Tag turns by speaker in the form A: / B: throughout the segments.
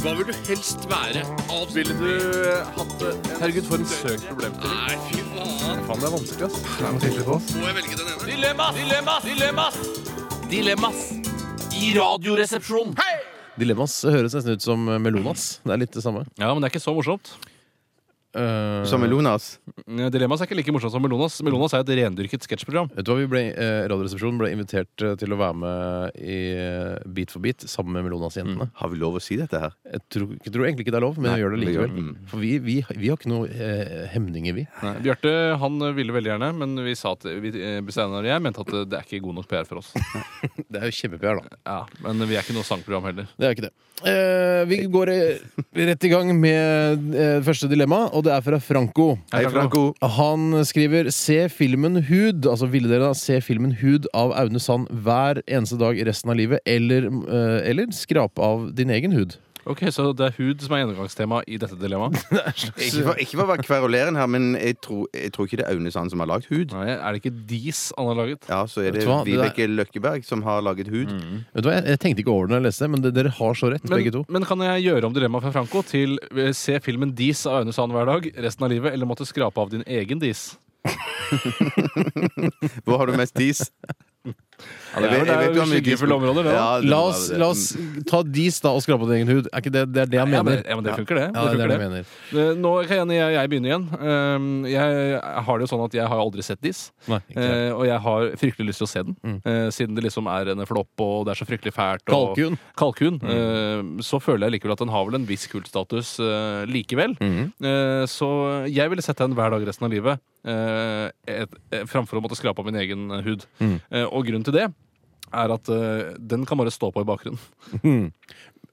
A: Hva vil du helst være? Avs-
B: Ville du hatt Herregud, for en søk problemstilling.
A: Nei, fy faen.
B: Faen, det er vanskelig, ass.
A: Må jeg velge den ene?
C: Dilemmas! Dilemmas! Dilemmas! Dilemmas i Radioresepsjonen.
D: Dilemmas høres nesten ut som eh, Melonas. Det er litt det samme.
C: Ja, men det er ikke så morsomt. Eh,
D: Eh,
B: Som Melonas.
C: Dilemmas er ikke like morsomt som Melonas. Melonas er et rendyrket sketsjprogram.
D: Vet du hva, vi ble, eh, Radioresepsjonen ble invitert eh, til å være med i eh, Beat for beat sammen med Melonas-jentene.
B: Mm. Har vi lov å si dette her?
D: Jeg tror, jeg tror egentlig ikke det er lov, men jeg gjør det
B: vi gjør
D: likevel.
B: det. Mm.
D: For vi, vi, vi har ikke noe eh, hemninger, vi.
C: Bjarte han ville veldig gjerne, men vi sa at vi, eh, Steinar og jeg mente at det er ikke god nok PR for oss.
D: Det er jo kjempe-PR, da.
C: Ja, Men vi er ikke noe sangprogram heller.
D: Det er jo ikke det. Eh, vi går eh, rett i gang med eh, første dilemma, og det er fra Franco.
B: Hei, Franco.
D: Han skriver 'Se filmen Hud'. Altså ville dere da se filmen Hud av Aune Sand hver eneste dag i resten av livet? Eller, eh, eller skrape av din egen hud?
C: Ok, Så det er hud som er gjennomgangstema i dette dilemmaet?
B: Ikke for, ikke for å være kverulerende her, men jeg tror, jeg tror ikke det er Aune Sand som har lagd hud.
C: Nei, Er det ikke dis han har laget?
B: Ja, så er
D: Vet
B: det
D: du hva, det
B: Vibeke Løkkeberg som har laget hud.
D: Vet du hva, Jeg, jeg tenkte ikke over det når jeg leste, det, men det, dere har så rett, begge to.
C: Men, men kan jeg gjøre om dilemmaet fra Franco til eh, se filmen Dis av Aune Sand hver dag resten av livet, eller måtte skrape av din egen dis?
B: Hvor har du mest dis?
C: det er- det er jo skyggefulle områder, det, da.
B: Ja,
D: La
B: må være
D: oss,
B: det. Mm.
D: la oss ta dis da og skrape av din egen hud. Er ikke det, det er det jeg
C: Ja,
D: mener?
C: men, ja, men det funker, det.
D: Ja, det er
C: funker
D: det jeg mener.
C: Eh, Nå kan jeg, jeg begynne igjen. Ehm, Jeg har det jo sånn at jeg har aldri sett Dis.
D: Nei, ikke det.
C: Eh, og jeg har fryktelig lyst til å se den, eh, siden det liksom er en flopp og det er så fryktelig fælt. Og,
D: Kalkun.
C: Kalkun.
D: Mm.
C: Eh, så føler jeg likevel at den har vel en viss kultstatus eh, likevel.
D: Mm.
C: Eh, så jeg ville sett den hver dag resten av livet, eh, et, eh, framfor å måtte skrape av min egen eh, hud.
D: Mm.
C: Eh, og grunnen til det er at eh, den kan bare stå på i bakgrunnen.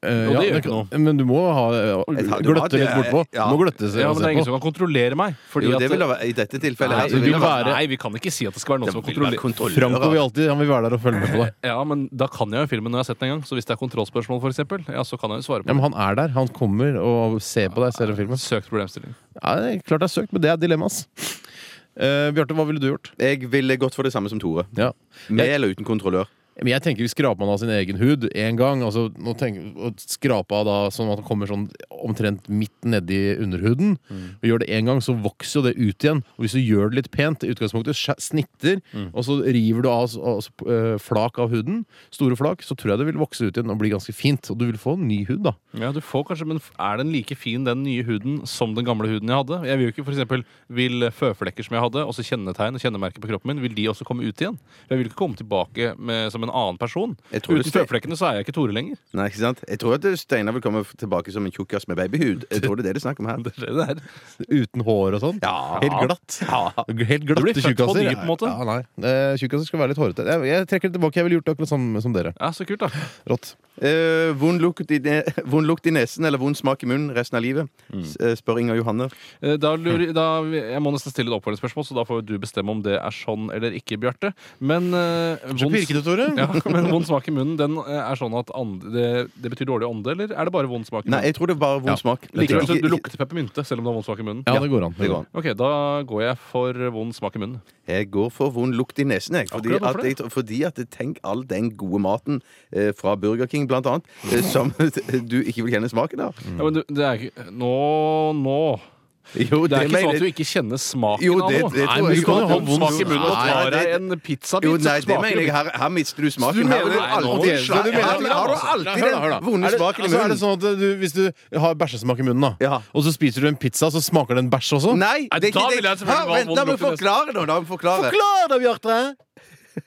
D: Eh,
C: Og
D: ja,
C: det gjør
D: det
C: ikke noe.
D: kan- Men du må ha, eh,
B: Jeg tar-
D: gløtte litt bortpå.
B: Ja.
D: Du må gløtte altså.
C: Ja, men det er ingen
D: og se
C: som
D: på.
C: kan kontrollere meg. Fordi
B: Jo,
C: at,
B: det ville være, I dette tilfellet
C: nei,
B: her,
D: det
B: så ville
D: vil
B: det
D: være-
C: nei, vi kan ikke si at det skal være noen som kontrollerer.
D: Franco vil alltid han vil være der og følge med på deg.
C: Ja, men da kan jeg jo filmen når jeg har sett den en gang. Så hvis det er kontrollspørsmål, for eksempel, ja, så kan jeg jo svare på
D: Ja,
C: det.
D: men han er der. Han kommer og ser på deg, ser den filmen.
C: Søkt problemstilling.
D: Ja, det er klart det er søkt, men det er dilemma, ass. Eh, Bjarte, hva ville du gjort?
B: Jeg ville gått for det samme som Tore.
D: Ja.
B: Med eller uten kontrollør.
D: Men jeg tenker hvis skraper man av sin egen hud én gang altså, nå tenker, og Skrape av da sånn at den kommer sånn omtrent midt nedi underhuden.
C: Mm.
D: Og Gjør det én gang, så vokser jo det ut igjen. Og hvis du gjør det litt pent, i utgangspunktet skjæ- snitter,
C: Mm.
D: og så river du av så- altså, p- eh, flak av huden, store flak, så tror jeg det vil vokse ut igjen og bli ganske fint. Og du vil få en ny hud, da.
C: Ja, du får kanskje, men Er den like fin, den nye huden, som den gamle huden jeg hadde? Jeg Vil jo ikke for eksempel, vil føflekker som jeg hadde, også kjennetegn og kjennemerker på kroppen min, vil de også komme ut igjen? Jeg vil ikke komme tilbake med, som en annen person.
B: Jeg tror
C: Uten
B: det-
C: føflekkene så er jeg ikke Tore lenger.
B: Nei, ikke sant? Jeg tror at Steinar vil komme tilbake som en tjukkas med babyhud. Jeg tror det er det det er snakk om her.
C: Det er det her.
D: Uten hår og sånn.
B: Ja.
D: Helt glatt. Helt
C: Du blir
D: glatte
C: født på
D: tjukkaser.
C: ny, på en måte.
D: Ja, nei. Eh, Tjukkaser skal være litt hårete. Jeg, jeg trekker det tilbake. Jeg ville gjort det akkurat samme som dere.
C: Ja, så kult, da.
D: Rått.
B: Eh, vond, lukt i ne vond lukt i nesen eller vond smak i munnen resten av livet? S- eh, Spør Inger Johanne.
C: Eh, Da lurer, da, jeg må nesten stille et oppfølgingsspørsmål, så da får du bestemme om det er sånn eller ikke, Bjarte. Men eh,
D: Så
C: vond-
D: pirket det, Tore.
C: Ja, men vond smak i munnen, den eh, er sånn at and, det, det betyr dårlig ånde, eller er det bare vond smak i
B: Nei,
C: munnen?
B: jeg tror det er bare vond smak.
C: Liker du,
B: Ikke-
C: altså, du lukter peppermynte selv om du har vond smak i munnen?
D: Ja, det går an.
B: Det går an.
C: Ok, da går jeg for vond smak i munnen.
B: Jeg går for vond lukt i nesen, jeg. Fordi
C: Akkurat, hvorfor
B: at, jeg, fordi at jeg- tenk all den gode maten eh, fra Burger King, blant annet, eh, som du ikke vil kjenne smaken av.
C: Ja, men du, det er ikke Nå, nå.
B: Jo,
C: Det er ikke
B: mener-
C: sånn at du ikke kjenner smaken
B: Jo,
C: av
B: det-
C: noe.
B: det tror
C: Nei,
B: jeg
C: men
B: ikke.
C: du kan jo ha
D: Vond
C: vond smak i munnen og
B: smak.
C: tar
B: Nei,
C: deg
B: det-
C: en pizzabit.
B: Jo,
C: som
B: nei, det
C: smaker
B: mener jeg. Her, her mister du
C: Du
B: smaken.
C: mener
B: Her vil
C: det?
B: du
C: Nei, nå må
B: alltid
C: du slutte.
B: Her har du- har du alltid den vonde smaken i
D: Er det
B: munnen.
D: sånn at du, hvis du har bæsjesmak i munnen, da,
B: Ja.
D: og så spiser du en pizza, så smaker den bæsj også?
B: Nei, det er
C: Da
B: ikke
C: vil jeg
B: det.
C: selvfølgelig
B: Her,
C: ha
B: vent,
C: vond
B: la meg
C: lukt i nesen.
B: forklare nå. La meg forklare.
D: Klar da, Bjarte!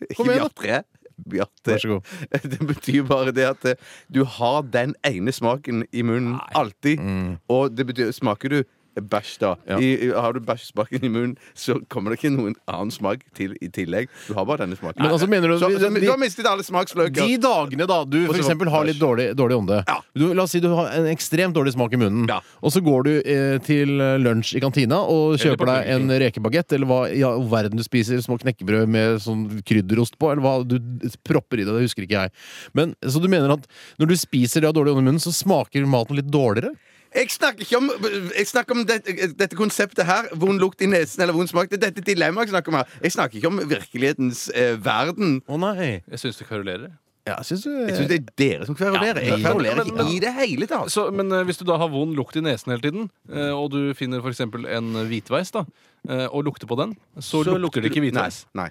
B: Ikke
D: Kom igjen, da.
B: Bjarte. Bjarte.
D: Vær så god.
B: Det betyr bare det at eh, du har den ene smaken i munnen alltid.
D: Mm.
B: Og det betyr Smaker du bæsj, da i, i- Har du bæsjsmaken i munnen, så kommer det ikke noen annen smak til i tillegg. Du har bare denne smaken.
D: Men altså, mener du-
B: så, så,
D: de-
B: du har mistet alle smaksløker.
D: De dagene da du
B: Og
D: for
B: så
D: eksempel har litt dårlig, dårlig ånde
B: Ja.
D: du, La oss si du har en ekstremt dårlig smak i munnen,
B: Ja.
D: og så går du eh, til lunsj i kantina og
C: Eller på
D: kjøper deg en rekebagett eller hva i all verden du spiser, små knekkebrød med sånn krydderost på, eller hva du propper i deg, det husker ikke jeg. Men, så du mener at når du spiser det av dårlig ånde i munnen, så smaker maten litt dårligere?
B: Jeg snakker ikke om, jeg snakker om det, dette konseptet her. Vond lukt i nesen eller vond smak. Det er dette dilemmaet jeg snakker om her. Jeg snakker ikke om virkelighetens eh, verden.
D: Å nei!
C: Jeg syns det karulerer.
D: Ja, jeg eh, syns
B: Jeg syns det er dere som kverulerer. Jeg kverulerer ikke i det hele tatt.
C: Så, men eh, hvis du da har vond lukt i nesen hele tiden, eh, og du finner f.eks. en hvitveis, da, eh, og lukter på den, så, lukter, det ikke hvitveis.
B: Nei. nei.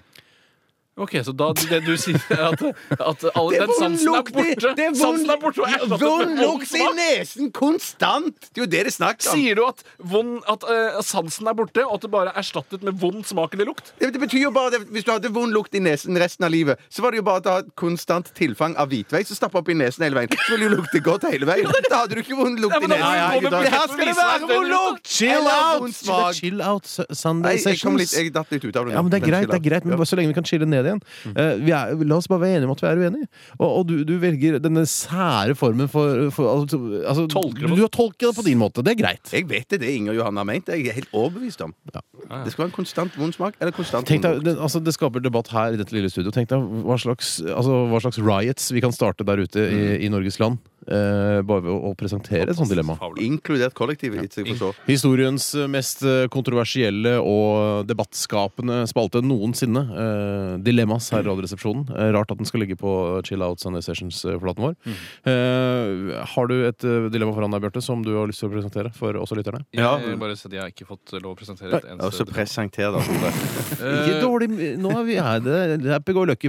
C: Ok, Så da det du sier, er at, at alle, den sansen er
B: i-
C: borte?
B: det er vond-
C: sansen er borte og erstattet
B: Vond
C: med
B: lukt i nesen konstant! Det er jo det det er snakk om.
C: Sier du at, vond, at eh, sansen er borte, og at det bare er erstattet med vond smak eller lukt?
B: Det, det betyr jo bare det, Hvis du hadde vond lukt i nesen resten av livet, så var det jo bare å ta et konstant tilfang av hvitveis og stappe opp i nesen hele veien. Så ville det jo lukte godt hele veien. Da hadde du ikke vond lukt
C: Ja,
B: i
C: men da
B: nesen.
C: må du gå med
B: det her
C: budsjett og
B: skal det
C: vise deg
B: være vond
C: den
B: lukt!
D: Chill
B: Eller
D: out!
B: vond smak.
D: Chill out Su-
B: Nei,
D: Sunday
B: jeg, kom litt,
D: sessions.
B: jeg datt litt ut av det. nå.
D: Ja, men Det er
B: Men
D: greit,
B: chill
D: det er
B: out. Mm.
D: greit men bare så lenge vi kan chille ned igjen. Eh, vi er, la oss bare være enige om at vi er uenige. Og, og du, du velger denne sære formen for, for altså, altså,
C: Tolker det
D: du,
C: på-
D: du har tolket det på din måte. Det er greit.
B: Jeg vet det, det Inger Johanne har ment. Jeg er helt overbevist om. Det skal være en konstant vond smak. Eller konstant
D: Tenk
B: vond
D: deg, det, altså, det skaper debatt her i dette lille studio. Tenk deg hva slags, altså, hva slags riots vi kan starte der ute i,
B: Mm.
D: i Norges land. eh, bare ved å, å presentere et sånt dilemma.
B: lukt. Inkludert kollektivet. ikke jeg forstår.
D: Historiens eh, mest kontroversielle og debattskapende spalte noensinne. Eh, dilemmas her i Radioresepsjonen. Eh, rart at den skal ligge på Chill Out Sunday Sessions-flaten vår. Eh, har du et eh, dilemma foran deg, Bjarte, som du har lyst til å presentere for oss og lytterne?
B: Ja.
C: Jeg, bare sier at jeg har ikke fått lov å presentere et
B: Ja, så
C: eneste
B: presenter da, Tore.
D: Ikke dårlig Nå er vi her. Det er Happy Go Lucky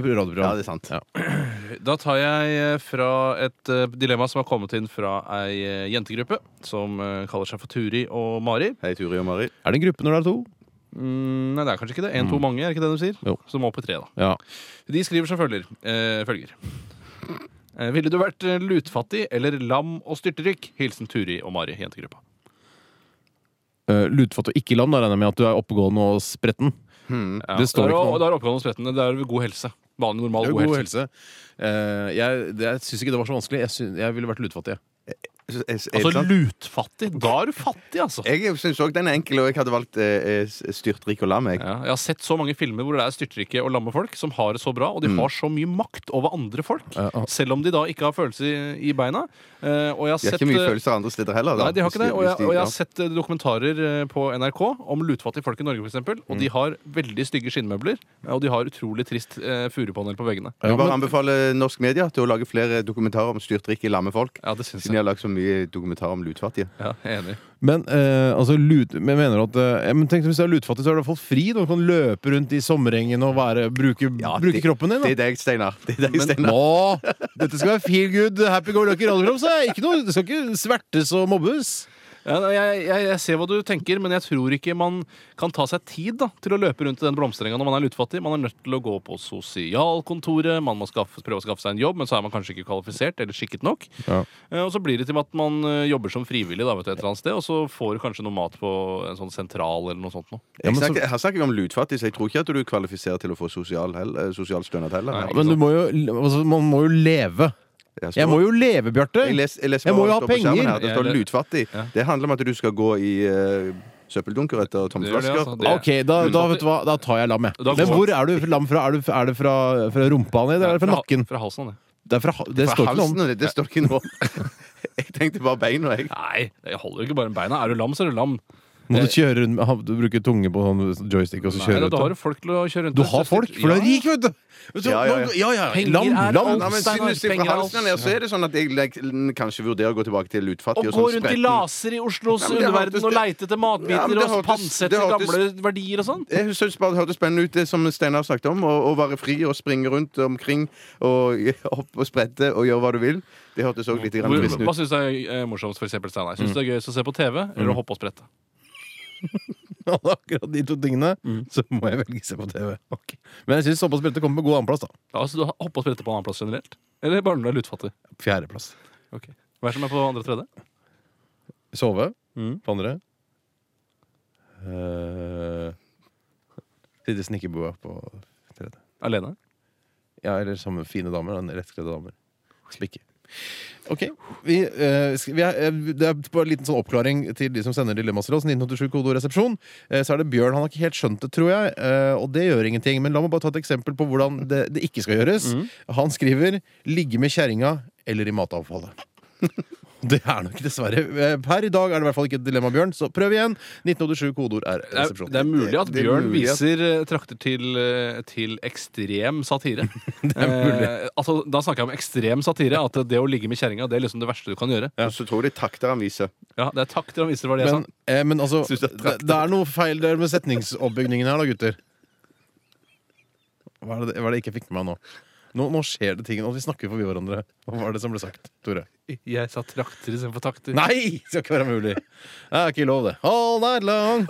B: Ja,
D: radioprogram.
B: det er sant.
C: Da tar jeg eh, fra et eh, dilemma som har kommet inn fra ei eh, jentegruppe som eh, kaller seg for Turi og Mari.
B: Hei, Turi og Mari.
D: Er det en gruppe når det er to?
C: Mm, nei, det er kanskje ikke det. Én, to, mange, er ikke det de sier?
D: Jo.
C: Så må opp i tre, da.
D: Ja.
C: De skriver som følger. Eh, følger. Eh, ville du vært eh, lutfattig eller lam og styrtrik? Hilsen Turi og Mari, jentegruppa.
D: Uh, Lutfatt og ikke lam, da regner jeg med at du er oppegående og spretten.
C: Ja.
D: Det
C: der,
D: står ikke noe om.
C: og der er oppgående hos sprettene. Der er det god helse. Vanlig, normal, god, helse.
D: Eh, jeg det- jeg syns ikke det var så vanskelig. Jeg, sy- jeg ville vært lutfattig. jeg.
B: Jeg- jeg- jeg-
C: Altså lutfattig. Da er du fattig, altså.
B: Jeg syns òg den er enkel, og jeg hadde valgt eh, eh, styrtrik og lam. Jeg.
C: Ja, jeg har sett så mange filmer hvor det er styrtrike og lamme folk som har det så bra,
B: Mm.
C: og de har så mye makt over andre folk,
D: ja.
C: selv om de da ikke har følelse i, i beina. Eh, og jeg har
B: De har
C: sett
B: ikke mye
C: eh,
B: følelser andre steder heller. Da.
C: Nei, de har ikke det.
B: Hvis
C: Og jeg,
B: hvis de-
C: og jeg
B: ja.
C: har sett eh, dokumentarer eh, på NRK om lutfattige folk i Norge, f.eks. Og de
B: Mm.
C: har veldig stygge skinnmøbler, eh, og de har utrolig trist eh, furupanel på veggene.
B: Jeg vil bare anbefale norsk media til å lage flere dokumentarer om styrtrike, lamme folk.
C: Ja, det syns
B: Siden de
C: jeg.
B: har lagd så mye dokumentarer om lutfattige.
C: Ja, jeg er enig.
D: Men eh, altså, lut, men jeg mener at eh, ja, men tenk, Hvis du er lutfattig, så er du i hvert fall fri. Du kan løpe rundt i sommerengen og være, bruke, bruke
B: det-
D: kroppen din.
B: Det er
D: Da.
B: deg, Steinar. Det er deg, Steinar.
D: Nå! Dette skal være feel good, happy go lucky radioprogram. Så er ikke noe, det skal ikke svertes og mobbes.
C: Ja, nei, jeg, jeg, jeg ser hva du tenker, men jeg tror ikke man kan ta seg tid da, til å løpe rundt i den blomsterenga når man er lutfattig. Man er nødt til å gå på sosialkontoret, man må skaffe, prøve å skaffe seg en jobb, men så er man kanskje ikke kvalifisert eller skikket nok.
D: Ja.
C: Eh, Og så blir det til at man eh, jobber som frivillig da, vet du, et eller annet sted, og så får du kanskje noe mat på en sånn sentral eller noe sånt noe.
B: Jeg
D: men så-
B: snakker, her snakker vi om lutfattig, så jeg tror ikke at du er kvalifisert til å få sosial hell- eh, sosialstønad heller.
C: Nei,
D: Ja, men du må jo, altså, man må jo leve.
B: Jeg står-
D: Jeg må jo leve, Bjarte!
B: Jeg, les, jeg, leser
D: Jeg
B: hva
D: må jo
B: det
D: ha
B: står på skjermen
D: penger.
B: Her. Det står
C: Jeg-
B: lutfattig.
C: Ja.
B: Det handler om at du skal gå i eh, søppeldunker etter tomme
C: Det gjør det,
B: flasker.
C: altså.
D: Ah, Ok, da, da, vet du hva, da tar jeg lam, jeg.
C: Da går
D: Men
C: vi.
D: hvor er du lam fra? Er, du, er det fra, fra rumpa ned, eller er det fra nakken?
C: Fra halsen, det.
D: Det, er fra, ha- det
B: Fra
D: står ikke noe om
B: halsen og det, det står ikke noe om. Jeg tenkte bare beina, jeg.
C: Nei, jeg holder jo ikke bare med beina. Er du lam, så er du lam.
D: Må du kjøre rundt med ha- du bruker tunge på sånn joystick og
C: Nei,
D: så kjøre
C: da,
D: ut?
C: da har
D: da?
C: du folk til å kjøre rundt
D: Du
C: med.
D: har folk, for du er rik, vet du! Vet du
B: Ja, ja, ja.
D: nå- ja, ja, ja.
C: Penger
D: Lam,
C: er
D: lam!
B: Nei, men
C: Steinar,
B: synes jeg fra
C: penger
B: halsen og ned, så er det sånn at jeg leg- kanskje vurderer å gå tilbake til
C: Og
B: lutfattig.
C: gå
B: sånn
C: rundt i
B: spretten.
C: laser i Oslos
B: Nei, men det
C: underverden
B: hørtes-
C: og leite etter
B: Ja, men
C: matbiter og
B: det hørtes-
C: pansette
B: det hørtes-
C: gamle verdier og sånn.
B: Jeg synes bare Det hørtes spennende ut, det som Steinar snakket om. Å å være fri og springe rundt omkring og opp og sprette og gjøre hva du vil. Det hørtes òg litt grann
C: Hvor-
B: fristende
C: Hva
B: ut.
C: syns du er eh, morsomst, for eksempel, Steinar? Syns du det er gøyest å se på TV
B: Mm.
C: eller å hoppe og sprette?
D: Akkurat de to tingene, så må jeg velge se på TV. Men jeg syns såpass brette kommer på god annenplass, da.
C: Ja, altså, du har- hoppe og sprette på en annen plass generelt? Eller bare når du er lutfattig?
D: Fjerdeplass.
C: Hva er det som er på andre og tredje?
D: Sove
C: Mm.
D: på andre. Uh, Sitte i snekkerbua på tredje.
C: Alene?
D: Ja, eller sammen med fine damer. da, Lettkledde damer. Spikke. Ok. Vi, eh, skal, vi er, eh, det er bare en liten sånn oppklaring til de som sender dilemmaer til oss. 1987 kodoresepsjon. Eh, så er det Bjørn. Han har ikke helt skjønt det, tror jeg. Eh, og det gjør ingenting. Men la meg bare ta et eksempel på hvordan det, det
C: Mm.
D: ikke skal gjøres. Han skriver 'ligge med kjerringa eller i matavfallet'. Det er nok dessverre. Eh, Per i dag er det i hvert fall ikke et dilemma, Bjørn, så prøv igjen. 1987, kodeord er
C: Det er,
D: resepsjon.
C: det er mulig at
B: Det- det er
C: Bjørn
B: mulig at-
C: viser eh, trakter til, eh, til ekstrem satire. Eh, altså, da snakker jeg om ekstrem satire. At det å ligge med kjerringa det er liksom det verste du kan gjøre.
B: Og så tror jeg det er takter han viser.
C: Ja, Det er takter han viser, var det jeg
D: Men,
C: sa.
D: eh, men altså,
B: Synes
D: det,
B: jeg er trakt.
D: det er noe feil der med setningsoppbygningen her, da, gutter. Hva er det, hva er det jeg ikke fikk med meg nå? Nå, nå skjer det ting. Nå vi snakker forbi hverandre. Hva var det som ble sagt, Tore?
C: Jeg sa trakter istedenfor takter.
D: Nei! Det skal ikke være mulig. Det er ikke lov, det. All night long.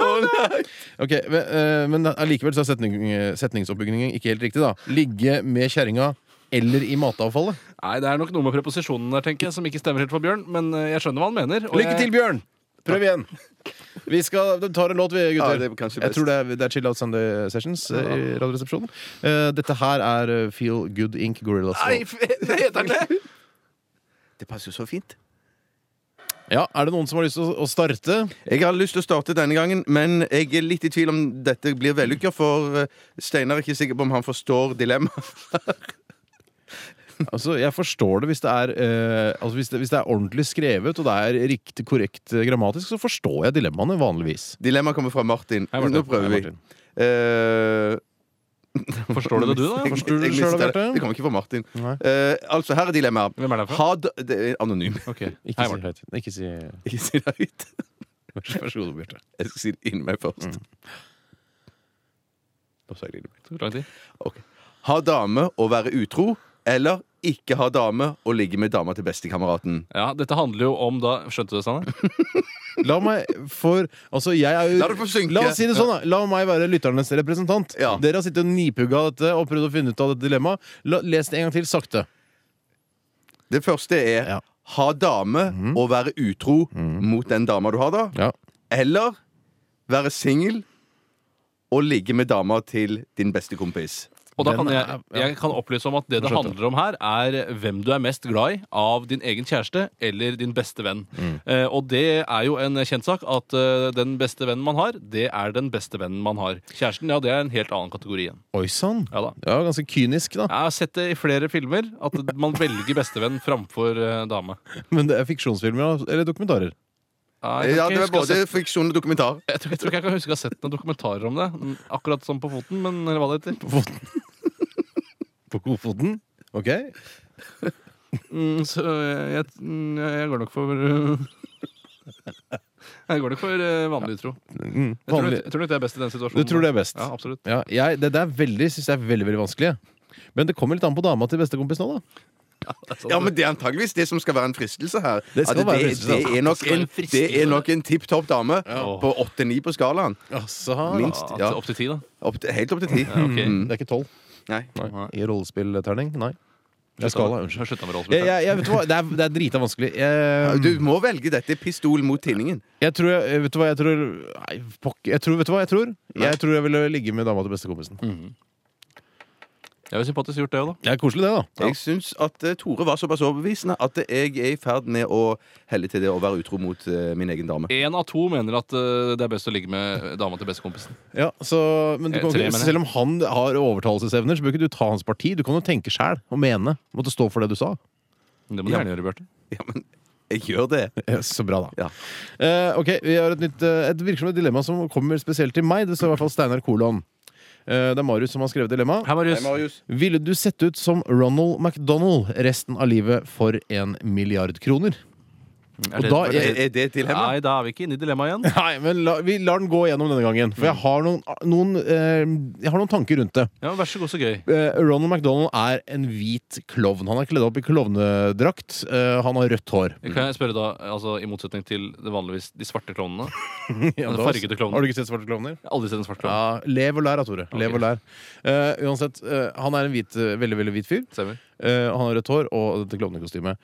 D: Ok, men, eh, Men allikevel så er setning, setningsoppbygningen ikke helt riktig, da. Ligge med kjerringa eller i matavfallet.
C: Nei, Det er nok noe med preposisjonen der, tenker jeg, som ikke stemmer helt for Bjørn. Men eh, jeg skjønner hva han mener. og
D: Lykke
C: jeg-
D: til, Bjørn! Prøv igjen. Vi skal, vi tar en låt, vi,
B: Ja,
D: gutter.
B: det er kanskje
D: jeg
B: best.
D: tror det er, det er Chill Out Sunday Sessions eh, i Radioresepsjonen. Eh, dette her er eh, Feel Good Ink Gorillas.
C: Nei, f- det heter den det!
B: Det passer jo så fint.
D: Ja, er det noen som har lyst til å, å starte?
B: Jeg har lyst til å starte denne gangen, men jeg er litt i tvil om dette blir vellykka, for eh, Steinar er ikke sikker på om han forstår dilemmaet.
D: Altså, Jeg forstår det hvis det er, eh, altså, hvis det, hvis det er ordentlig skrevet og det er riktig korrekt eh, grammatisk, så forstår jeg dilemmaene vanligvis.
B: Dilemmaet kommer fra Martin.
C: Hei, Martin.
B: Nå prøver
D: Hei,
B: vi.
D: Martin.
B: Eh,
C: Forstår du det, du, da?
B: jeg-
D: Forstår du det
B: jeg
D: selv,
B: mistet det.
D: Bjarte?
B: Det kommer ikke fra Martin.
D: Nei.
B: Eh, altså, her er dilemmaet.
C: Hvem er det fra?
B: Ha d det er anonym.
C: Ok,
D: Ikke
C: Hei,
D: si
C: Morten.
D: høyt. Ikke si
B: Ikke si det høyt.
D: Vær så god, Bjarte.
B: Jeg skal si det inni meg først.
C: Mm.
B: Nå sa jeg det inni meg.
C: Det tok lang tid.
B: Ok. Ha dame og være utro, eller ikke ha dame og ligge med dama til bestekameraten.
C: Ja, Dette handler jo om da Skjønte du det, Sanne?
D: La meg for Altså, jeg er jo
B: La det få synke.
D: La oss si det sånn, da. La meg være lytternes representant.
B: Ja.
D: Dere har sittet og nipugga dette og prøvd å finne ut av dette dilemmaet. La- Les det en gang til, sakte.
B: Det første er
D: Ja. Mhm.
B: ha dame og være utro mot den dama du har, da. Eller være singel og ligge med dama til din beste kompis.
C: Og da
D: Den
C: kan jeg,
D: er- ja.
C: jeg kan opplyse om at det det
D: Skjønte.
C: handler om her, er hvem du er mest glad i av din egen kjæreste eller din beste venn. Eh, og det er jo en kjent sak at eh, den beste vennen man har, det er den beste vennen man har. Kjæresten, ja, det er en helt annen kategori igjen.
D: Oi sann.
C: Ja da.
D: Ja, ganske kynisk, da.
C: Jeg har sett det i flere filmer, at man velger bestevenn framfor eh, dame.
D: Men det er fiksjonsfilmer da, eller dokumentarer.
C: Ja, jeg,
B: Ja,
C: tror ikke jeg,
B: det er
C: husker å ha
B: både
C: sett,
B: friksjon og dokumentar.
C: jeg, tror, jeg tror ikke jeg kan huske å ha sett noen dokumentarer om det. mm, Akkurat sånn på foten, men eller hva det heter.
D: På Kofoten. Ok.
C: Mm, så jeg, jeg, mm, jeg går nok for eh, Jeg går nok for eh, vanlig utro.
D: Mm,
C: Jeg tror,
D: vanlig.
C: nok- jeg tror nok det er best i den situasjonen.
D: Du tror det er best?
C: Ja, absolutt.
D: Ja, jeg, det der er veldig, synes jeg er veldig veldig vanskelig. Men det kommer litt an på dama til bestekompis nå, da.
B: Ja, men Det er antageligvis det som skal være en fristelse her.
D: Det skal
B: At
D: være en
B: det,
D: fristelse,
B: det, er nok
C: Det skal være
B: en,
C: en fristelse.
B: det er nok en tipp topp dame på 8-9 på skalaen.
D: Altså,
B: Minst.
C: Ja,
B: Ja.
C: til- Opp til ti, da.
B: Opp til, helt opp til 10.
C: Ja, ok. Mm.
D: Det er ikke tolv.
B: Nei.
D: Nei. I rollespillterning? Nei. Det er skala, unnskyld.
C: Slutta med
D: Jeg,
C: rollespill.
D: jeg, jeg, vet du hva? Det er, det er drita vanskelig. Jeg,
B: Du må velge dette pistol mot tinningen.
D: jeg tror jeg, Vet du hva jeg tror Nei, pokker. Jeg tror, vet du hva jeg tror? Jeg tror jeg ville ligge med dama til bestekompisen.
C: Jeg vil sympatisk gjort det òg, da.
D: Mm. Det er koselig, det, da.
B: Jeg syns at eh, Tore var såpass overbevisende at jeg er i ferd med å helle til det å være utro mot eh, min egen dame.
C: Én av to mener at eh, det er best å ligge med dama til bestekompisen.
D: Ja, så, men du
C: Eh,
D: kan
C: tre,
D: ikke,
C: mener jeg.
D: selv om han har overtalelsesevner, så bør ikke du ta hans parti. Du kan jo tenke sjæl og mene. Du Måtte stå for det du sa.
C: Det må du gjerne gjøre, Bjarte.
B: Ja, men jeg gjør det.
D: Ja, Så bra, da.
B: Ja.
D: Eh, ok, Vi har et nytt eh, Et virksomt dilemma som kommer spesielt til meg. Det står i hvert fall Steinar Kolon. Eh, det er Marius som har skrevet dilemmaet.
C: Hei, Marius.
D: Ville du sett ut som Ronald McDonald resten av livet for en milliard kroner?
C: Er det-
D: da-
B: Er, er det et dilemma?
C: Nei, da er vi ikke inne i dilemmaet igjen.
D: Nei, men la, vi lar den gå gjennom denne gangen. For jeg har noen, noen, eh, jeg har noen tanker rundt det.
C: Ja, men Vær så god, så gøy.
D: Eh, Ronald McDonald er en hvit klovn. Han er kledd opp i klovnedrakt. Eh, han har rødt hår.
C: Kan jeg spørre da, altså I motsetning til det vanligvis de svarte klovnene.
D: Ja, da-
C: fargete klovner.
D: Har du ikke sett svarte klovner?
C: Jeg har aldri sett en svart klovn.
D: Ja, Lev og lær, da, Tore. Lev
C: Ok.
D: og lær. Eh, uansett, eh, han er en hvit, eh, veldig veldig hvit fyr.
C: Stemmer.
D: Eh, han har rødt hår og dette klovnekostymet.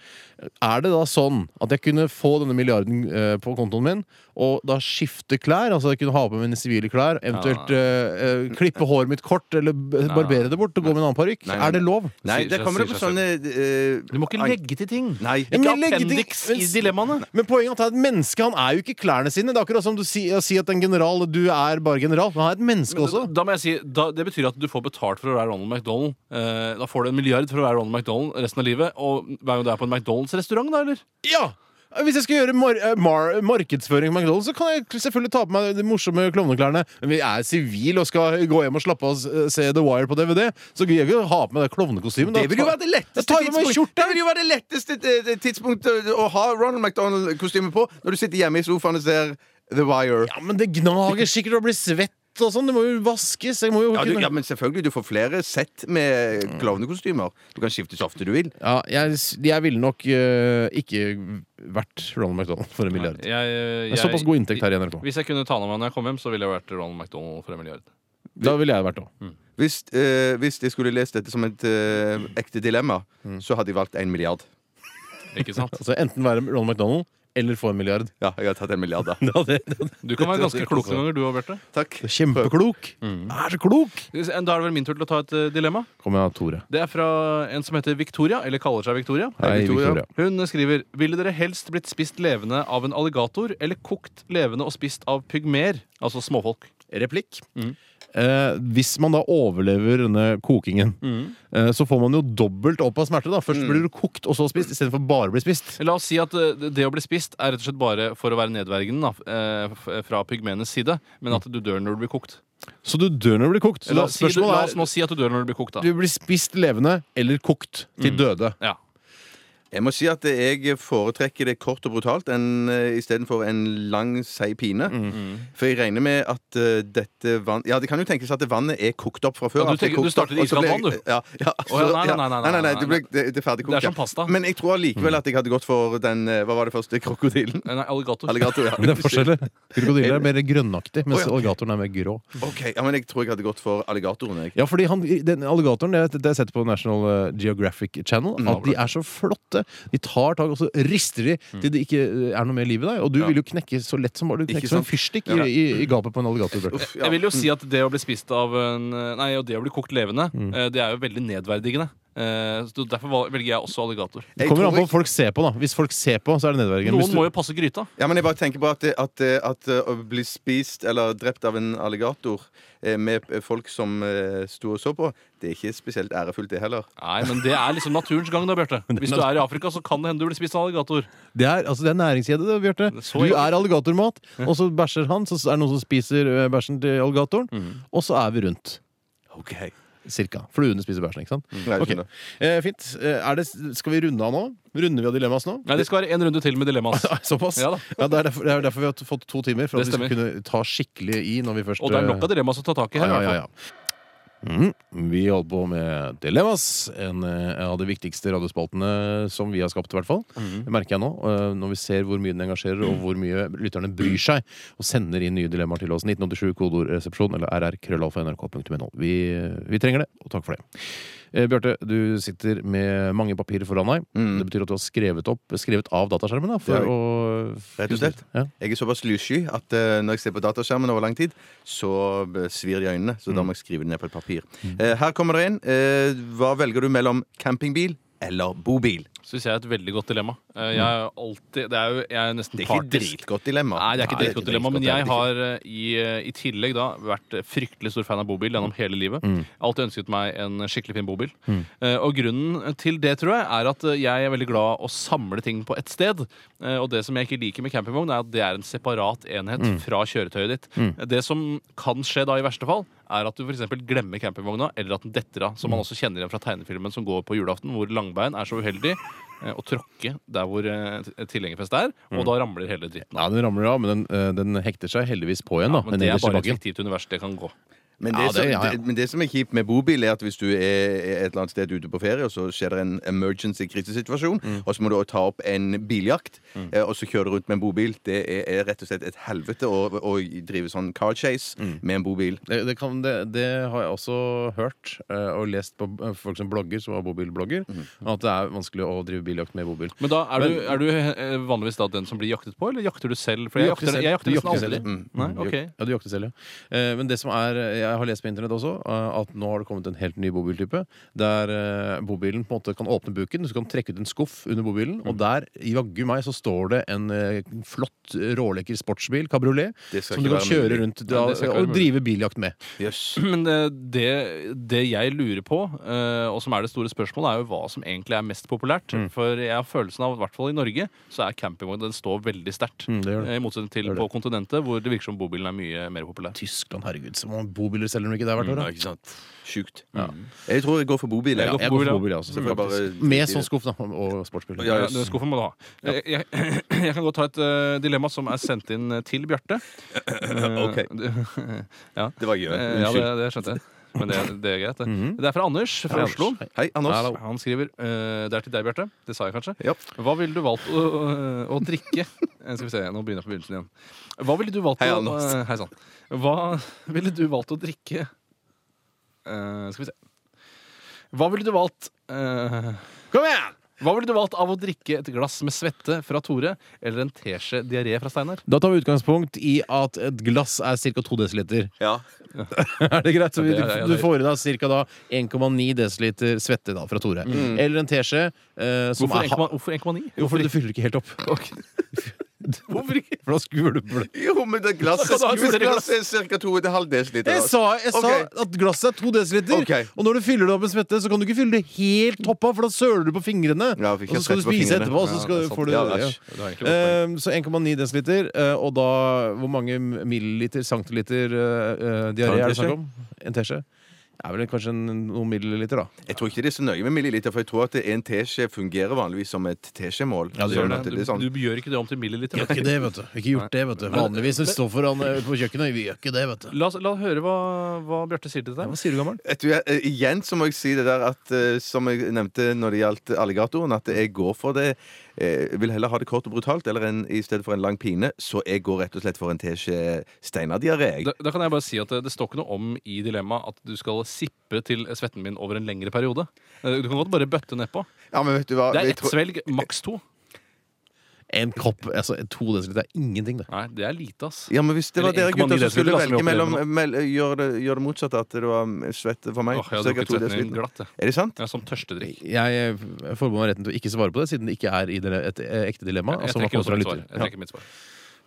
D: Er det da sånn at jeg kunne få denne milliarden eh, på kontoen min, og da skifte klær? Altså jeg kunne ha på mine sivile klær, eventuelt eh, eh, klippe håret mitt kort, eller b- barbere det bort og gå med en annen parykk?
B: Nei, nei,
D: Er det lov?
B: Nei,
C: Sier
B: der
C: seg-
B: kommer det
C: sier
B: på
C: seg
B: sånne eh,
C: Du må ikke
B: an-
C: legge til ting.
B: Nei.
D: Ja, men
C: Ikke
D: jeg legger ting-
C: appendix i
D: men-
C: dilemmaene.
D: Men poenget er at det er et menneske han er jo ikke klærne sine. Det er akkurat som du sier si at en general Du er bare general. Men han er et menneske også.
C: Da må jeg si, da, Det betyr at du får betalt for å være Ronald McDonald. Eh, da får du en milliard for å være Ronald McDonald resten av livet. Og hver gang du er på en McDonald's-restaurant, da, eller?
D: Ja! Hvis jeg skal gjøre mar eh, mar markedsføring på McDonald's, så kan jeg selvfølgelig ta på meg de morsomme klovneklærne. Men vi er sivile og skal gå hjem og slappe av og s- eh, se The Wire på DVD. Så gidder jeg ikke å ha på meg det klovnekostymet. Da
B: Det vil jo
D: tar-
B: være det
D: da
B: letteste
D: tar jeg på meg
B: tidspunkt-
D: skjorta.
B: Det vil jo være det letteste t- t- tidspunktet eh, å ha Ronald McDonald-kostyme på når du sitter hjemme i sofaen og ser The Wire.
D: Ja, men det gnager sikkert å bli svett og sånn. Det må jo vaskes. Jeg må jo
B: Ja, du,
D: kunne-
B: ja, men selvfølgelig, du får flere sett med klovnekostymer. Du kan skifte så ofte du vil.
D: Ja, jeg, s- jeg ville nok eh, ikke vært Ronald McDonald for en milliard.
C: Jeg, jeg,
D: Det er såpass god inntekt her i NRK.
C: Hvis jeg kunne ta av meg når jeg kom hjem, så ville jeg vært Ronald McDonald for en milliard.
D: Da ville jeg vært òg.
B: Hvis, eh, hvis jeg skulle lest dette som et eh, ekte dilemma, så hadde jeg valgt én milliard.
C: Ikke sant?
D: Altså, enten være Ronald McDonald eller få en milliard.
B: Ja, jeg hadde tatt en milliard, da.
D: Det hadde- det hadde-
C: Du kan være ganske klok noen ganger, du òg, Bjarte.
B: Takk.
D: Kjempeklok! Er så klok!
C: Da er det vel min tur til å ta et eh, dilemma.
D: Kommer jeg av Tore.
C: Det er fra en som heter Victoria, eller kaller seg Victoria.
D: Hei,
B: Victoria.
D: Victoria.
C: Hun skriver Ville dere helst blitt spist levende av en alligator eller kokt levende og spist av pygmer? Altså småfolk.
D: Replikk.
C: Mm.
D: Eh, hvis man da overlever denne kokingen,
B: Mm.
D: eh, så får man jo dobbelt opp av smerte. da Først blir du kokt, og så spist, istedenfor bare å bli spist.
C: La oss si at eh, det å bli spist er rett og slett bare for å være nedverdigende da, eh, f- fra pygmenes side, men at du dør når du blir kokt.
D: Så du dør når du blir kokt. Så
C: La
D: da,
C: oss, si, du, la oss
D: spørsmålet
C: nå si at du dør når du blir kokt,
D: er
C: da.
D: du blir spist levende eller kokt til døde.
C: Ja.
B: Jeg må si at jeg foretrekker det kort og brutalt enn eh, istedenfor en lang, seig pine.
C: Mm.
B: For jeg regner med at eh, dette vann Ja, det kan jo tenkes at det vannet er kokt opp fra før.
C: Ja, du
B: at det er
C: tenker- du
B: kokt
C: starter
B: opp, og så
C: iskaldt
B: ble-
C: vann, du.
B: Ja, ja,
C: Å, ja, nei, nei,
B: så-
C: nei, nei,
B: nei, nei,
C: nei,
B: nei, det, ble, det, det er ferdigkokt.
C: Det er Mm. som
B: ja.
C: pasta.
B: Men jeg tror allikevel at jeg hadde gått for den eh, Hva var det første? Krokodillen?
C: Eh, Nei, alligator.
B: Alligator, ja.
D: Det er forskjeller. Krokodiller er mer grønnaktig, mens
B: Å, ja.
D: alligatoren er mer grå.
B: Ok, ja, men Jeg tror jeg hadde gått for alligatoren. Jeg.
D: Ja, fordi han, den alligatoren det, det har jeg sett på National eh, Geographic Channel. At de er så flotte. De tar tak, og så rister de til det ikke eh, er noe mer liv i deg. Og du vil jo knekke så lett som bare
B: Mm.
D: Du
B: Ikke
D: knekker som en
B: sant?
D: fyrstikk
B: Ja.
D: i, i, i gapet på en alligator. Bjarte.
B: Uff, ja.
C: Jeg vil jo si at det å bli spist av en eh, Nei, og det å bli kokt levende,
B: Mm.
C: eh, det er jo veldig nedverdigende. Eh, så Derfor val- velger jeg også alligator.
D: Det
B: Jeg
D: kommer
B: tror
D: an på
B: ikke-
D: hva folk ser på, da. Hvis folk ser på, så er det nedverdigende. Hvis
C: Noen
D: du-
C: må jo passe gryta.
B: Ja, men jeg bare tenker på at, det- at, det- at eh, å bli spist eller drept av en alligator eh, med eh, folk som eh, sto og så på, det er ikke spesielt ærefullt, det heller.
C: Nei, men det er liksom naturens gang, da, Bjarte. Hvis du er i Afrika, så kan det hende du blir spist av alligator.
D: Det er, altså, det er næringskjede, det, Bjarte.
C: Så-
D: Du er alligatormat, og så bæsjer han, så er det noen som spiser ø, bæsjen til alligatoren,
B: Mm.
D: og så er vi rundt.
B: Okay.
D: Cirka. Fluene spiser bæsjen, ikke
C: Mm.
D: sant?
B: Nei, jeg
D: Ok.
B: skjønner.
D: Eh, fint. Eh, Er det, skal vi runde av nå? Runder vi av dilemmas nå?
C: Nei, Det skal være en runde til med dilemmaet.
D: Ja, Såpass?
C: Ja da.
D: det, er derfor, det er derfor vi har fått to timer. For
C: Det
D: at vi skal kunne ta skikkelig i når vi først
C: Og det er
D: eh,
C: nok av dilemmaer å ta tak i her.
D: ja,
C: i
D: ja,
C: hvert
D: ja, ja. Mm, vi holder på med Dilemmas, en eh, av de viktigste radiospaltene som vi har skapt. i hvert fall Det merker jeg nå, eh, når vi ser hvor mye den engasjerer, og hvor mye lytterne bryr seg og sender inn nye dilemmaer til oss. 1987 kodeordresepsjon eller rrkrøllalfa.nrk.no. Vi, eh, vi trenger det, og takk for det. Eh, Bjarte, du sitter med mange papirer foran deg. Det betyr at du har skrevet, opp, skrevet av dataskjermen. Da, for
B: Det har jeg.
D: å,
B: Rett og slett.
D: Ja.
B: Jeg er såpass lyssky at eh, når jeg ser på dataskjermen over lang tid, så eh, svir det i øynene.
C: Mm.
B: Så da må jeg skrive det ned på et papir. Eh, her kommer det inn. Eh, hva velger du mellom campingbil eller bobil?
C: fall. Synes jeg er et veldig godt dilemma. Eh, Jeg er jo alltid Det er jo jeg er nesten
B: Det er ikke et
C: partisk.
B: dritgodt dilemma.
C: Nei, det er ikke et godt dilemma, men
B: det er
C: jeg
B: det ikke.
C: har eh, i, eh, i tillegg da vært eh, fryktelig stor fan av bobil gjennom hele livet. Alltid ønsket meg en skikkelig fin bobil. Eh, Og grunnen til det, tror jeg, er at eh, jeg er veldig glad å samle ting på ett sted. Eh, Og det som jeg ikke liker med campingvogn, er at det er en separat enhet fra kjøretøyet ditt. Eh, Det som kan skje da i verste fall, er at du for eksempel glemmer campingvogna, eller at den detter av. Som man også kjenner igjen fra tegnefilmen som går på julaften, hvor Langbein er så uheldig eh, å tråkke der hvor eh, t- tilhengerfest er, og da ramler hele dritten av.
D: Ja, den ramler av, men den, eh, den hekter seg heldigvis på igjen. da
C: Ja, men
D: den
C: det er
D: nederste
C: bare et
D: bakken.
C: fiktivt univers. Det kan gå.
B: Men det,
D: Ja,
B: som,
D: det- ja, ja.
B: Det, men det som er kjipt med bobil, er at hvis du er er et eller annet sted ute på ferie, og så skjer det en emergency krisesituasjon,
D: Mm.
B: og så må du ta opp en biljakt, eh, og så kjører du rundt med en bobil, det er, er rett og slett et helvete å, å drive sånn car chase
D: Mm.
B: med en bobil.
D: Det, det, kan, det, det har jeg også hørt eh, og lest på eh, folk som blogger, som er bobilblogger,
C: Mhm.
D: at det er vanskelig å drive biljakt med bobil.
C: Men da er, du, er du eh, vanligvis da den som blir jaktet på, eller jakter du selv? For jeg
D: Du jakter
C: jakter, Mm, jeg
D: selv.
C: jakter
D: Du
C: nesten
D: jakter
C: aldri.
D: selv.
C: Nei, ok.
D: Ja, du jakter selv, ja. Eh, Men det som er eh, jeg har lest på internett også, eh, at nå har det kommet en helt ny bobiltype. Der eh, bobilen på en måte kan åpne buken, så du kan trekke ut en skuff under bobilen.
C: Mm.
D: Og der, jaggu meg, så står det en eh, flott, rålekker sportsbil, kabriolet,
B: Det skal
D: som
B: ikke
D: du kan
B: være
D: kjøre
B: mulig.
D: rundt
C: Nei,
D: da,
C: det skal ikke være
D: og drive biljakt med.
B: Jøss.
C: Men eh, det, det jeg lurer på, eh, og som er det store spørsmålet, er jo hva som egentlig er mest populært. For jeg har følelsen av, i hvert fall i Norge, så er campingvogn den står veldig sterkt.
D: Mm, det gjør det.
C: Eh, I motsetning til
D: Det gjør det.
C: på kontinentet, hvor det virker som bobilen er mye mer populær.
D: Tyskland, herregud, så mange bobiler selger de ikke der hvert år.
B: Ja,
D: da.
B: ikke sant? Sjukt.
D: Ja.
B: Jeg tror jeg går for bobil.
C: Jeg går for bobil,
D: Jeg går
C: ja.
D: for bobil, jeg også.
B: Så får jeg bare
D: faktisk.
B: drite i
D: Med
B: det.
D: sånn skuff, da, og sportsbil.
B: Ja,
C: Ja,
B: yes.
C: den skuffen må du ha. Jeg, jeg, jeg kan godt ta et eh, dilemma som er sendt inn til Bjarte. Eh,
B: Ok.
C: du- ja.
B: Det var gøy.
C: Eh, ja,
B: Unnskyld.
C: det, det skjønte jeg. Men det, det er greit, det. Det er fra Anders fra
D: Mhm. Anders.
C: Oslo.
B: Hei, Anders.
D: Hallo.
C: Han skriver eh, Det er til deg, Bjarte. Det sa jeg kanskje.
B: Ja.
C: Hva ville du valgt å, å, å drikke Eh, Skal vi se, nå begynner jeg på begynnelsen igjen. Hva ville du valgt
B: Hei,
C: å
B: Anders.
C: eh, Hei sann. Hva ville du valgt å drikke Eh, Skal vi se. Hva ville du valgt eh,
B: Kom igjen!
C: Hva ville du valgt av å drikke et glass med svette fra Tore eller en teskje diaré fra Steinar?
D: Da tar vi utgangspunkt i at et glass er ca. 2 dl.
B: Ja.
D: Er det greit? Så vi,
C: Ja, ja, ja,
D: du
C: det-
D: får i deg ca. 1,9 dl svette da, fra Tore. Eller en teskje eh, som
C: Hvorfor
D: er ha-
C: 1,9? Hvorfor 1,9?
D: Jo, fordi du fyller ikke helt opp.
C: Hvorfor ikke?
D: For da skvuler du
B: Jo, men det glasset
C: Da kan du ha et
B: glasset er ca. 2,5 dl.
D: Jeg sa, jeg sa
B: Ok.
D: at glasset er 2 dl,
B: Ok.
D: og når du fyller det opp med svette, så kan du ikke fylle det helt toppa, for da søler du på fingrene.
B: Ja,
D: og
B: fikk jeg
D: så skal du
B: svette på
D: spise
B: fingrene.
D: etterpå, og så
C: Ja,
D: skal,
C: det er
D: får
C: sant.
D: du
B: Ja,
D: ja.
B: æsj.
C: Det er egentlig godt poeng.
D: Eh, Så 1,9 dl, eh, og da hvor mange milliliter, centiliter eh, eh,
B: Ta
D: diaré
B: en
D: er det
B: teskje.
D: snakk om? En teskje? Det er vel kanskje en, noen milliliter, da.
B: Jeg tror ikke det er så nøye med milliliter, for jeg tror at en teskje fungerer vanligvis som et teskjemål.
D: Ja, det gjør
B: Sånn
D: det.
B: at er sånn-
C: Du, du gjør ikke det om til milliliter.
D: Ikke det, vet du. Ikke gjort det, vet du. Vanligvis når vi står foran eh, på kjøkkenet, vi gjør ikke det, vet du.
C: La, oss, la oss høre hva, hva Bjarte sier til deg.
D: Hva sier du, gammel?
B: Vet du, jeg, eh, igjen så må jeg si det der at eh, som jeg nevnte når det gjaldt alligatoren, at jeg går for det. eh, Jeg vil heller ha det kort og brutalt eller en, i stedet for en lang pine, så jeg går rett og slett for en teskje steinardiaré. jeg.
C: Da, da kan jeg bare si at Det, det står ikke noe om i dilemmaet at du skal sippe til svetten min over en lengre periode. Eh, Du kan godt bare bøtte nedpå.
B: Ja, men vet du hva?
C: Det er
B: jeg
C: ett
B: tror-
C: svelg, maks to.
D: En kopp, altså to desiliter er ingenting, det.
C: Nei, det er lite, ass.
B: Ja, men Hvis det var
C: Eller
B: dere
C: 1,9
B: gutter som skulle
C: desiliter, da, som vi
B: velge
C: opererer
B: mellom mell, gjør, det, gjør det motsatte, at det var mm, svette for meg
C: Åh, jeg
B: så
C: har
B: jeg har
C: drukket
B: to
C: svetten min
B: desiliter.
C: glatt. jeg.
B: Er det sant?
C: Ja, som tørstedrikk.
D: Jeg eh, forbeholder meg retten til å ikke svare på det, siden det ikke er i det, et, eh, ekte dilemma.
C: Jeg
D: altså, man
C: trekker også
D: kommer fra
C: mitt svar.
D: lytter.
C: Jeg trekker mitt svar.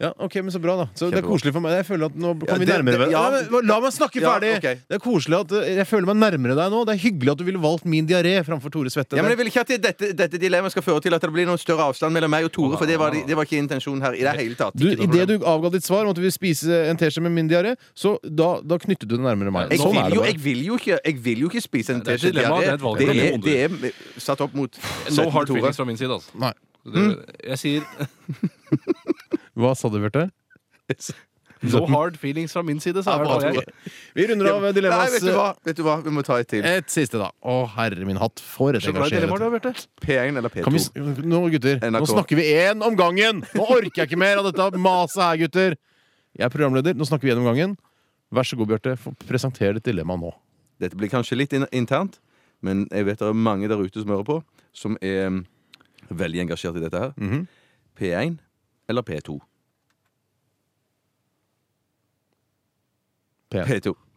D: Ja, ok, men Så bra, da. Så Det er
B: Kjempebra.
D: koselig for meg. Jeg føler at nå
B: Ja,
D: kommer vi
B: det-
D: nærmere
B: det- ja.
D: Nei, men La meg snakke
B: Ja,
D: ferdig!
B: ok.
D: Det er koselig at eh, Jeg føler meg nærmere deg nå. Det er hyggelig at du ville valgt min diaré framfor Tore Svette.
B: Ja, men jeg vil ikke at det- dette, dette dilemmaet skal føre til at det blir noen større avstand mellom meg og Tore, for det var, det var ikke intensjonen her i det hele tatt.
D: Du, Idet du avga ditt svar om at du vil spise en teskje med min diaré, så da, da knyttet du det nærmere meg.
B: Jeg
D: Sånn er
B: vil,
D: det
B: jo,
D: bare.
B: jeg, vil jo ikke, jeg vil jo ikke spise en
C: Det er et
B: teskje.
C: dilemma, det er et valg.
B: det,
C: Det er
B: er,
C: veldig
B: det er satt opp mot
C: No hard
B: Tore.
C: feelings fra min side, altså.
D: Nei.
C: Det, jeg sier
D: Hva sa du, Bjarte?
C: no hard feelings fra min side, sa
B: Ja,
C: jeg.
B: bra,
C: og jeg-
B: Tore.
D: Vi runder av
B: Nei,
D: dilemmas. eh,
B: vet du hva? Vet du hva? Vi må ta et til.
D: Et siste, da. Å, herre min hatt, for et
C: Så glad i dilemmaer du
D: engasjerende
C: er, Bjarte.
B: P1 eller P2?
D: kan vi, s- nå, gutter, nå
B: NRK.
D: snakker vi én om gangen! Nå orker jeg ikke mer av dette maset her, gutter! Jeg er programleder. Nå snakker vi én om gangen. Vær så god, Bjarte. få Presenter ditt dilemma nå.
B: Dette blir kanskje litt in internt, men jeg vet det er mange der ute som hører på, som er mm, veldig engasjert i dette her. P1 eller P2?
D: P1.
B: P2.